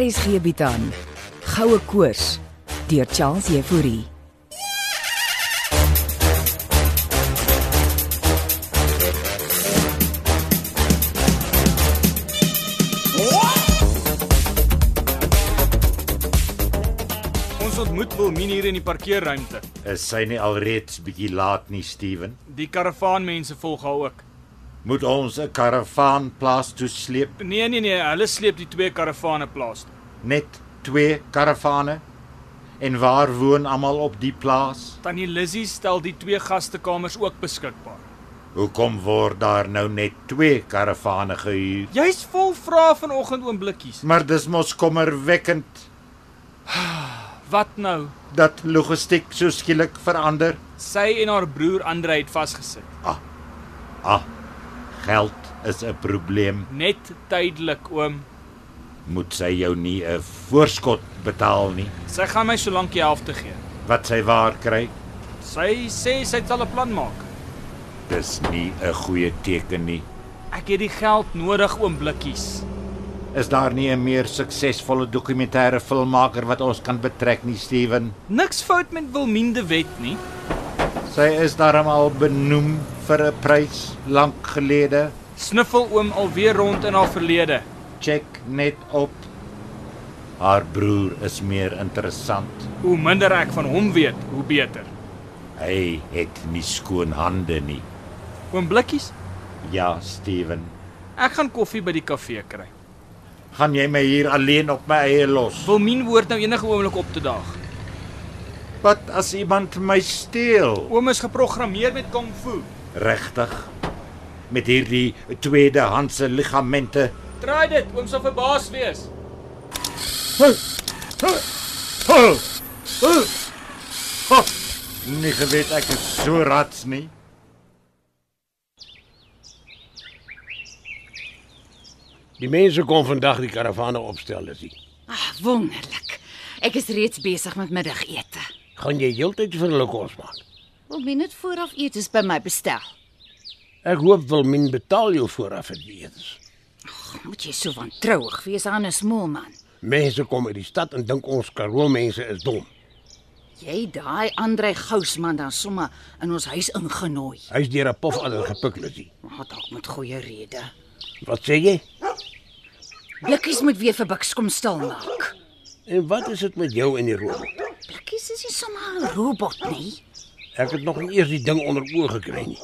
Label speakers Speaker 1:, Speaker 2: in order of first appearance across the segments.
Speaker 1: RSG bied aan Goue Koors deur Charles Euphorie.
Speaker 2: Ons ontmoet Wilmien hier in die parkeerruimte.
Speaker 3: Is sy nie alreeds bietjie laat nie, Steven?
Speaker 2: Die karavaanmense volg haar ook.
Speaker 3: Moet ons 'n karavaan plaas toe sleep?
Speaker 2: Nee nee nee, hulle sleep die twee karavane plaas toe.
Speaker 3: Net twee karavane? En waar woon almal op die plaas?
Speaker 2: Tannie Lizzie stel die twee gastekamers ook beskikbaar.
Speaker 3: Hoekom word daar nou net twee karavane gehuur?
Speaker 2: Jy's vol vrae vanoggend oom blikkies.
Speaker 3: Maar dis mos kommerwekkend
Speaker 2: Wat nou?
Speaker 3: dat logistiek so skielik verander.
Speaker 2: Sy en haar broer Andre het vasgesit.
Speaker 3: Ah, geld is 'n probleem.
Speaker 2: Net tydelik oom.
Speaker 3: Moet sy jou nie 'n voorskot betaal nie
Speaker 2: Sy gaan my solank die helfte gee.
Speaker 3: wat sy waar kry.
Speaker 2: Sy sê sy sal 'n plan maak.
Speaker 3: Dis nie 'n goeie teken nie.
Speaker 2: Ek het die geld nodig oom blikkies.
Speaker 3: Is daar nie 'n meer suksesvolle dokumentêre filmmaker wat ons kan betrek nie, Steven?
Speaker 2: Niks fout met Wilmien de Wet nie.
Speaker 3: Sy is daarom al benoem vir 'n prys lank gelede.
Speaker 2: Sniffel oom alweer rond in haar verlede.
Speaker 3: Check net op. Haar broer is meer interessant.
Speaker 2: Hoe minder ek van hom weet, hoe beter.
Speaker 3: Hy het nie skoon hande nie.
Speaker 2: Oom Blikkies,
Speaker 3: Ja, Steven.
Speaker 2: ek gaan koffie by die kafee kry.
Speaker 3: Gaan jy my hier alleen op my eie los?
Speaker 2: Wilmien hoort nou enige oomblik op te daag.
Speaker 3: Wat as iemand my steel?
Speaker 2: Oom is geprogrammeer met kung fu.
Speaker 3: Regtig? Met hierdie tweedehandse ligamente.
Speaker 2: Try dit, oom sal verbaas wees.
Speaker 3: Oh! Oh! Oh! Nie geweet ek is so rats nie.
Speaker 4: Die mense kon vandag die karavane opstel, is dit.
Speaker 5: Ag, wonderlik. Ek is reeds besig met middagete.
Speaker 4: Gaan jy heeltyd vir hulle kos maak?
Speaker 5: Om minuut vooraf eet is by my bestel.
Speaker 4: Ek hoop Wilmin betaal jou vooraf vir die etes.
Speaker 5: Moet jy so wantrouig wees aan 'n smoelman?
Speaker 4: Mense kom uit die stad en dink ons Karoo mense is dom.
Speaker 5: Jy daai Andre Gousman dan sommer in ons huis ingenooi.
Speaker 4: Hy's deur 'n pofadder gepik, Lissy.
Speaker 5: Maar dalk met goeie rede.
Speaker 4: Wat sê jy?
Speaker 5: Blikkies moet weer vir Buks kom stil maak.
Speaker 4: En wat is dit met jou en die robot?
Speaker 5: Blikkies is nie sommer 'n robot nie.
Speaker 4: Ek het nog nie eers die ding onder oë gekry nie.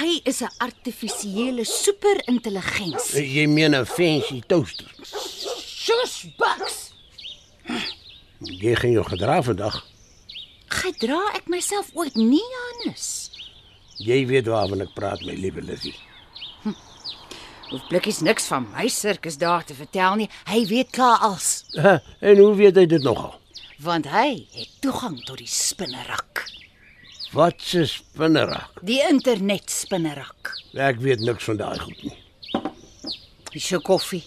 Speaker 5: Hy is 'n artifisiële superintelligensie.
Speaker 4: Eh, Jy meen 'n fancy toaster.
Speaker 5: Shush, Buks.
Speaker 4: Jy gaan jou gedra vandag.
Speaker 5: Gedra ek myself ooit nie Janus.
Speaker 4: Jy weet waarvan ek praat, my liewe Lissy.
Speaker 5: Hoef Blikkies niks van my sirkus daar te vertel nie. Hy weet klaar als.
Speaker 4: Ha, en hoe weet hy dit nogal?
Speaker 5: want hy het toegang tot die spinnerak,
Speaker 4: Wat 'n spinnerak.
Speaker 5: die internet spinnerak.
Speaker 4: Ek weet niks van daai goed nie.
Speaker 5: Dis jou koffie.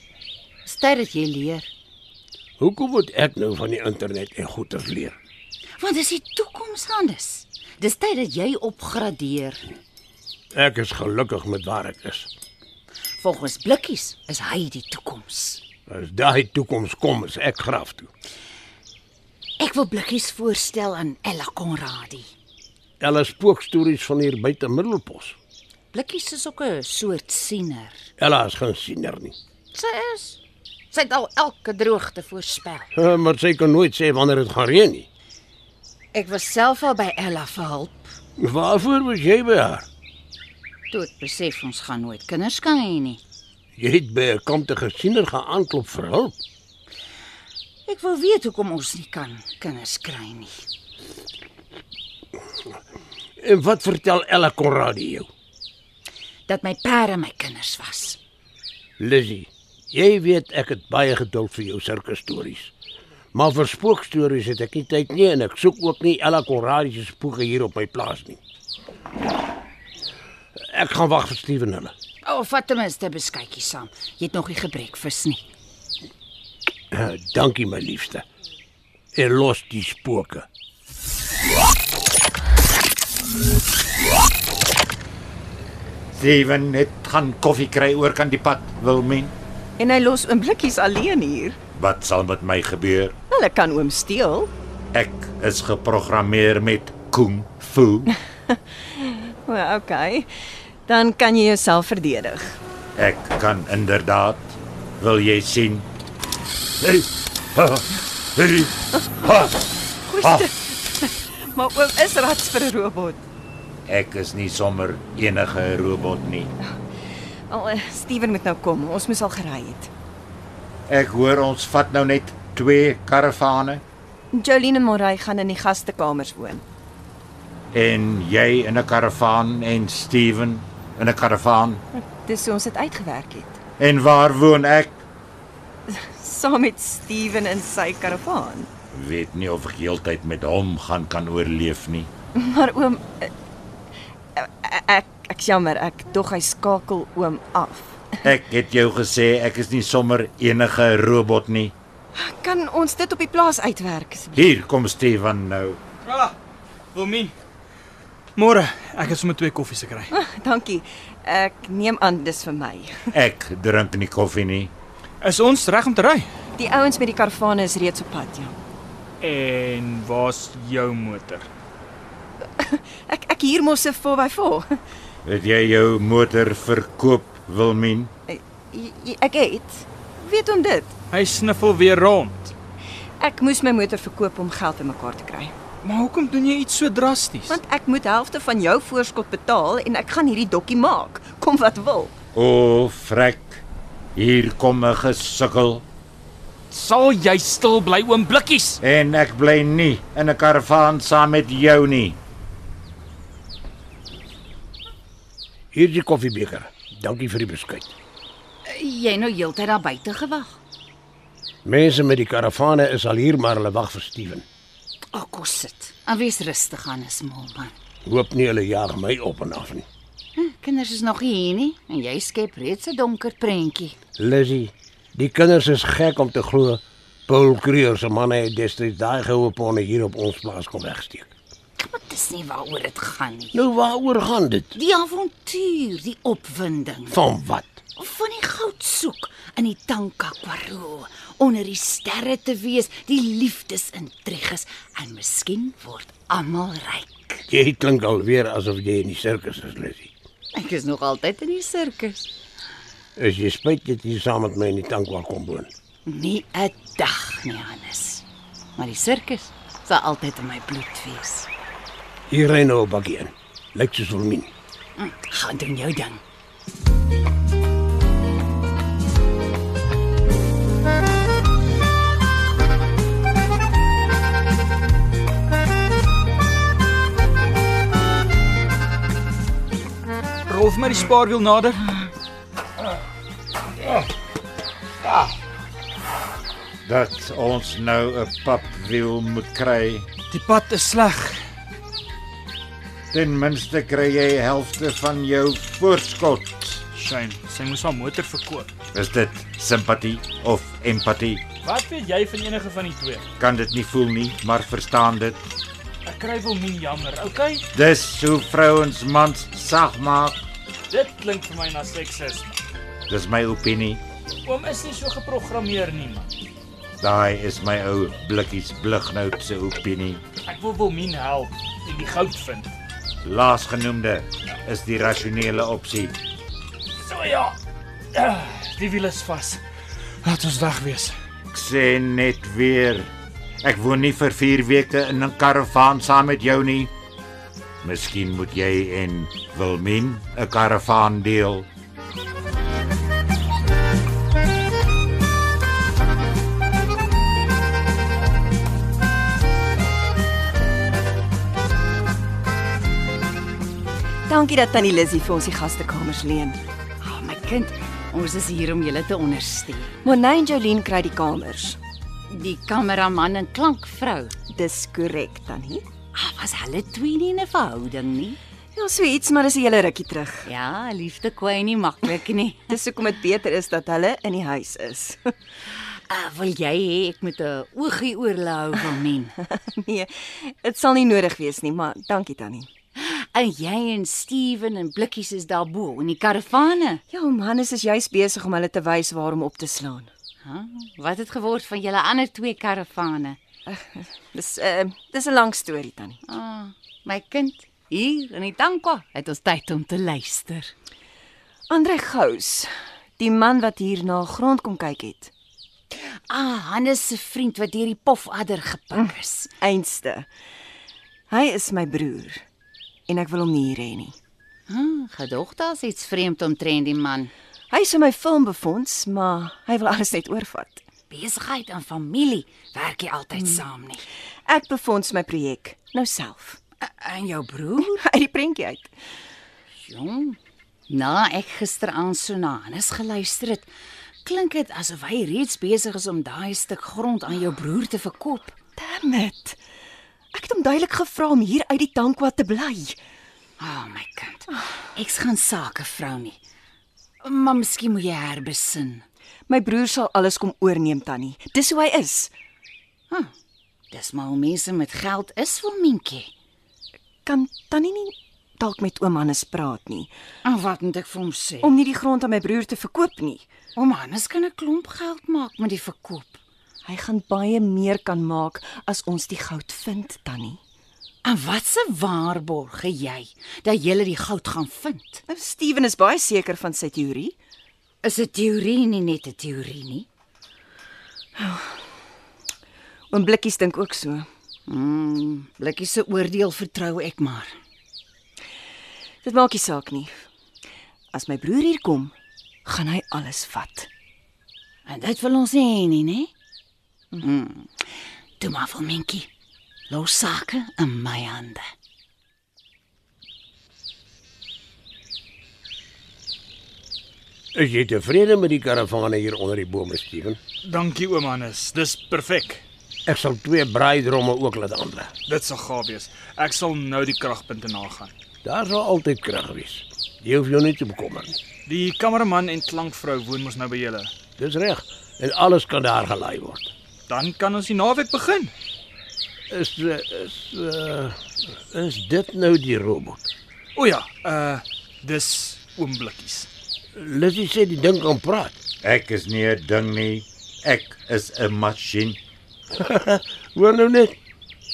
Speaker 5: Styr dit jy leer,
Speaker 4: Hoekom moet ek nou van die internet en goeie leer?
Speaker 5: want dis die toekoms anders. Dis tyd dat jy opgradeer.
Speaker 4: Ek is gelukkig met waar ek is.
Speaker 5: Volgens Blikkies is hy die toekoms.
Speaker 4: As daai toekoms kom, is ek graf toe.
Speaker 5: Ek wil Blikkies voorstel aan Ella Conradi.
Speaker 4: Hulle spookstories van hier buite Middelpos.
Speaker 5: Blikkies is ook 'n soort siener.
Speaker 4: Ella is geen siener nie.
Speaker 5: Sy is sy het al elke droogte voorspel.
Speaker 4: Eh, Maar sy kan nooit sê wanneer dit gaan reën nie.
Speaker 5: Ek was self al by Ella vir hulp.
Speaker 4: Waarvoor was jy by haar?
Speaker 5: Toe ek besef ons gaan nooit kinders kan hê nie.
Speaker 4: Jy het by 'n kamptige siener gaan aanklop vir hulp.
Speaker 5: Ek wil weet hoekom ons nie kan kinders kry nie.
Speaker 4: En wat vertel Ella Konradi jou?
Speaker 5: Dat my pere my kinders was.
Speaker 4: Lizzy, jy weet ek het baie geduld vir jou sirkusstories. Maar vir spookstories het ek nie tyd nie en ek soek ook nie Ella Konradi se spoeke hier op my plaas nie. Ek gaan wag vir Steven hulle.
Speaker 5: O, oh, vat ten minste 'n beskuitjie saam. Jy het nog nie gebrek vis nie.
Speaker 4: Eh, Dankie my liefste. En los die spooke.
Speaker 3: Steven het gaan koffie kry oor kan die pad wil men.
Speaker 6: En hy los oomblikkies alleen hier.
Speaker 3: wat sal met my gebeur?
Speaker 6: Hulle kan oom steel.
Speaker 3: Ek is geprogrammeer met kung fu.
Speaker 6: Well, okay. Dan kan jy jouself verdedig.
Speaker 3: Ek kan inderdaad. Wil jy sien? Hey. Ha. Hey. Ha.
Speaker 6: Koester. maar oom is rats vir 'n robot.
Speaker 3: Ek is nie sommer enige robot nie.
Speaker 6: Al eh, Steven moet nou kom. Ons moes al gery het.
Speaker 3: Ek hoor ons vat nou net twee karavane
Speaker 6: Jolene en Morey gaan in die gastekamers woon.
Speaker 3: en jy in 'n karavaan en Steven in 'n karavaan.
Speaker 6: Dis hoe ons dit uitgewerk het.
Speaker 3: En waar woon ek?
Speaker 6: Saam met Steven in sy karavaan.
Speaker 3: Weet nie of ek heeltyd met hom gaan kan oorleef nie.
Speaker 6: Maar oom eh, eh, ek ek jammer, ek dog hy skakel oom af.
Speaker 3: Ek het jou gesê ek is nie sommer enige robot nie.
Speaker 6: Kan ons dit op die plaas uitwerk asseblief?
Speaker 3: Hier kom Steven nou.
Speaker 2: Ah, Wilmien. Môre, ek het sommer twee koffies gekry.
Speaker 6: Dankie. Ek neem aan dis vir my.
Speaker 3: Ek drink nie koffie nie.
Speaker 2: Is ons reg om te ry?
Speaker 6: Die ouens met die karavane is reeds op pad, ja.
Speaker 2: En waar's jou motor?
Speaker 6: Ek ek hier mos se 4x4.
Speaker 3: Het jy jou motor verkoop, Wilmien?
Speaker 6: J- j- Ek het. Weet hom dit.
Speaker 2: Hy sniffel weer rond.
Speaker 6: Ek moes my motor verkoop om geld bymekaar te kry.
Speaker 2: Maar hoekom doen jy iets so drasties?
Speaker 6: Want ek moet helfte van jou voorskot betaal en ek gaan hierdie dokkie maak, kom wat wil.
Speaker 3: O, frek. Hier kom 'n gesukkel
Speaker 2: Sal jy stil bly oom blikkies?
Speaker 3: en ek bly nie in 'n karavaan saam met jou nie.
Speaker 4: Hier is die koffiebeker. Dankie vir die beskuit.
Speaker 5: Jy nou heeltyd daar buite gewag.
Speaker 4: Mense met die karavane is al hier maar hulle wag vir Steven.
Speaker 5: Ag, kom sit. En wees rustig aan, is mal man.
Speaker 4: Hoop nie hulle jaag my op en af nie.
Speaker 5: Hm, Kinders is nog hier nie en jy skep reeds 'n donker prentjie.
Speaker 4: Lizzy, die kinders is gek om te glo Paul Creer se manne het destyds daai goue ponne hier op ons plaas kom wegsteek.
Speaker 5: Maar dis nie waaroor dit gaan nie.
Speaker 4: Nou waaroor gaan dit?
Speaker 5: Die avontuur, die opwinding
Speaker 4: Van wat?
Speaker 5: van die goud soek in die Tanka Karoo, onder die sterre te wees, die liefdesintriges en miskien word almal ryk.
Speaker 4: Jy klink alweer asof jy in die sirkus is, Lizzy.
Speaker 5: Ek is nog altyd in die sirkus.
Speaker 4: Is jy spyt dat jy saam met my in die tankwa kom woon?
Speaker 5: Nie 'n dag nie, Hannes. Maar die sirkus sal altyd in my bloed wees.
Speaker 4: Hier ry nou 'n bakkie in. Lyk soos Wilmien.
Speaker 5: Hm, Gaan doen jou ding.
Speaker 2: Rol vir my die spaarwiel nader.
Speaker 3: Dat ons nou 'n papwiel moet kry.
Speaker 2: Die pad is sleg.
Speaker 3: Ten minste kry jy helfte van jou voorskot.
Speaker 2: Shane, sy moes haar motor verkoop.
Speaker 3: Is dit simpatie of empatie?
Speaker 2: Wat weet jy van enige van die twee?
Speaker 3: Kan dit nie voel nie, maar verstaan dit.
Speaker 2: Ek kry Wilmien jammer, okay?
Speaker 3: Dis hoe vrouens mans sag maak.
Speaker 2: Dit klink vir my na seksisme.
Speaker 3: Dis my opinie.
Speaker 2: Oom is nie so geprogrammeer nie, man.
Speaker 3: Daai is my ou blikkies blighnout se opinie.
Speaker 2: Ek wil Wilmien help en die goud vind.
Speaker 3: Laasgenoemde is die rasionele opsie.
Speaker 2: So ja. Ah, Die wiel is vas. Laat ons weg wees.
Speaker 3: Ek sê net weer, ek woon nie vir 4 weke in 'n karavaan saam met jou nie. Miskien moet jy en Wilmien 'n karavaan deel.
Speaker 6: Dankie dat tannie Lizzy vir ons die gastekamers leen.
Speaker 5: Oh, my kind, ons is hier om julle te ondersteun.
Speaker 6: Monet en Jolene kry die kamers.
Speaker 5: Die kameraman en klankvrou.
Speaker 6: Dis korrek tannie.
Speaker 5: Ah, was hulle twee nie in 'n verhouding nie?
Speaker 6: Ja, so iets, maar dis 'n hele rukkie terug.
Speaker 5: Ja, liefde kwai nie maklik nie.
Speaker 6: Dis hoekom dit beter is dat hulle in die huis is.
Speaker 5: Uh, wil jy hê ek moet 'n oogie oor hulle hou van men?
Speaker 6: nee, dit sal nie nodig wees nie, maar dankie tannie.
Speaker 5: En jy en Steven en Blikkies is daarbo in die karavane.
Speaker 6: Ja, Johannes is juis besig om hulle te wys waar om op te slaan.
Speaker 5: Wat het geword van julle ander twee karavane?
Speaker 6: Dis ehm dis 'n lang storie tannie.
Speaker 5: Ah, my kind, hier in die tankwa het ons tyd om te luister.
Speaker 6: Andre Gous, die man wat hier na grond kom kyk het.
Speaker 5: Ah, Hannes se vriend wat deur die pofadder gepik is.
Speaker 6: Einste. Hy is my broer en ek wil hom nie hier hê nie.
Speaker 5: Hm, gedog daar's iets vreemd omtrent die man.
Speaker 6: Hy is in my film befonds, maar hy wil alles net oorvat.
Speaker 5: Besigheid en familie werk nie altyd saam nie.
Speaker 6: Ek befonds my projek nou self
Speaker 5: En jou broer?
Speaker 6: uit die prentjie uit.
Speaker 5: Jong. Na ek gisteraand so na Hannes geluister het, klink dit asof hy reeds besig is om daai stuk grond aan jou broer te verkoop.
Speaker 6: Damn it. Ek het hom duidelik gevra om hier uit die tankwa te bly.
Speaker 5: Ah, oh, my kind. Ek's gaan sake vrou nie. Maar miskien moet jy herbesin.
Speaker 6: My broer sal alles kom oorneem tannie. Dis hoe hy is.
Speaker 5: Dis maar hoe mense met geld is, Wilmientjie.
Speaker 6: Kan tannie nie dalk met oom Hannes praat nie
Speaker 5: En wat moet ek vir hom sê? Om,
Speaker 6: om nie die grond aan my broer te verkoop nie.
Speaker 5: om Hannes kan 'n klomp geld maak met die verkoop.
Speaker 6: Hy gaan baie meer kan maak as ons die goud vind tannie.
Speaker 5: En wat se waarborg gee jy dat jy die goud gaan vind?
Speaker 6: Nou Steven is baie seker van sy teorie.
Speaker 5: Is 'n teorie nie net 'n teorie nie?
Speaker 6: Oom Blikkies dink ook so.
Speaker 5: Mm, Blikkie se oordeel vertrou ek maar.
Speaker 6: Dit maak nie saak nie. As my broer hier kom, gaan hy alles vat.
Speaker 5: En dit wil ons nie hê nie, né? Mm. Toe maar vir Minkie. Los sake in my hande.
Speaker 4: Is jy tevrede met die karavane hier onder die bome, Steven?
Speaker 2: Dankie oom Hannes. Dis perfek.
Speaker 4: Ek sal twee braaidromme ook laat aandra.
Speaker 2: Dit sal gaaf wees. Ek sal nou die kragpunte nagaan.
Speaker 4: Daar sal altyd krag wees. Jy hoef jou nie te bekommer nie.
Speaker 2: Die kameraman en klankvrou woon mos nou by julle.
Speaker 4: Dis reg. En alles kan daar gelaai word.
Speaker 2: Dan kan ons die naweek begin.
Speaker 4: Is eh, is uh, is dit nou die robot?
Speaker 2: O ja, uh dis oom Blikkies.
Speaker 4: Lizzie sê die ding kan praat.
Speaker 3: Ek is nie 'n ding nie. Ek is 'n masjien.
Speaker 4: Hoor nou net.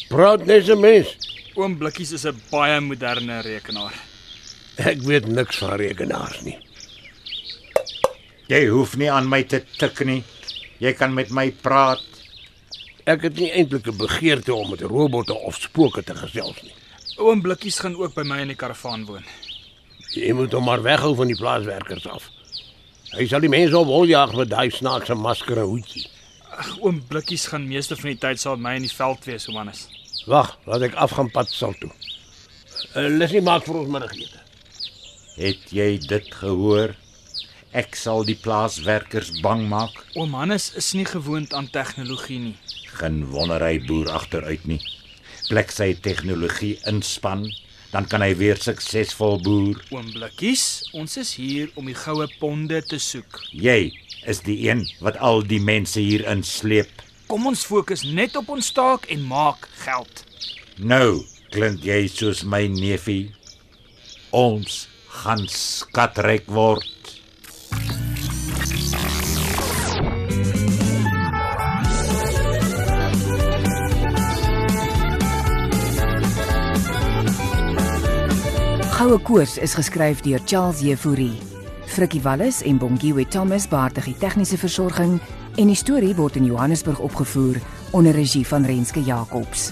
Speaker 4: Praat net so mens.
Speaker 2: Oom Blikkies is 'n baie moderne rekenaar.
Speaker 4: Ek weet niks van rekenaars nie.
Speaker 3: Jy hoef nie aan my te tik nie. Jy kan met my praat.
Speaker 4: Ek het nie eintlik 'n begeerte om met robotte of spooke te gesels nie.
Speaker 2: Oom Blikkies gaan ook by my in die karavaan woon.
Speaker 4: Jy moet hom maar weghou van die plaaswerkers af. Hy sal die mense op hol jag met daai snaakse masker en hoedjie.
Speaker 2: Ag, oom Blikkies gaan meeste van die tyd saam met my in die veld wees, oom Hannes.
Speaker 4: Wag, laat ek afgaan pad sal toe. Uh, Lizzie maak vir ons middagete.
Speaker 3: Het jy dit gehoor? Ek sal die plaaswerkers bang maak.
Speaker 2: Oom Hannes is nie gewoond aan tegnologie nie.
Speaker 3: Geen wonder hy boer agteruit nie. Plek sy tegnologie inspan, dan kan hy weer suksesvol boer.
Speaker 2: Oom Blikkies, ons is hier om die goue ponde te soek.
Speaker 3: Jy is die een wat al die mense hier insleep.
Speaker 2: Kom ons fokus net op ons taak en maak geld.
Speaker 3: Nou klink jy soos my neefie. Ons gaan skatryk word.
Speaker 7: Goue Koors is geskryf deur Charles Jefouri. Frikkie Wallis en Bongiwe Thomas baartig die tegniese versorging en die storie word in Johannesburg opgevoer onder regie van Renske Jacobs.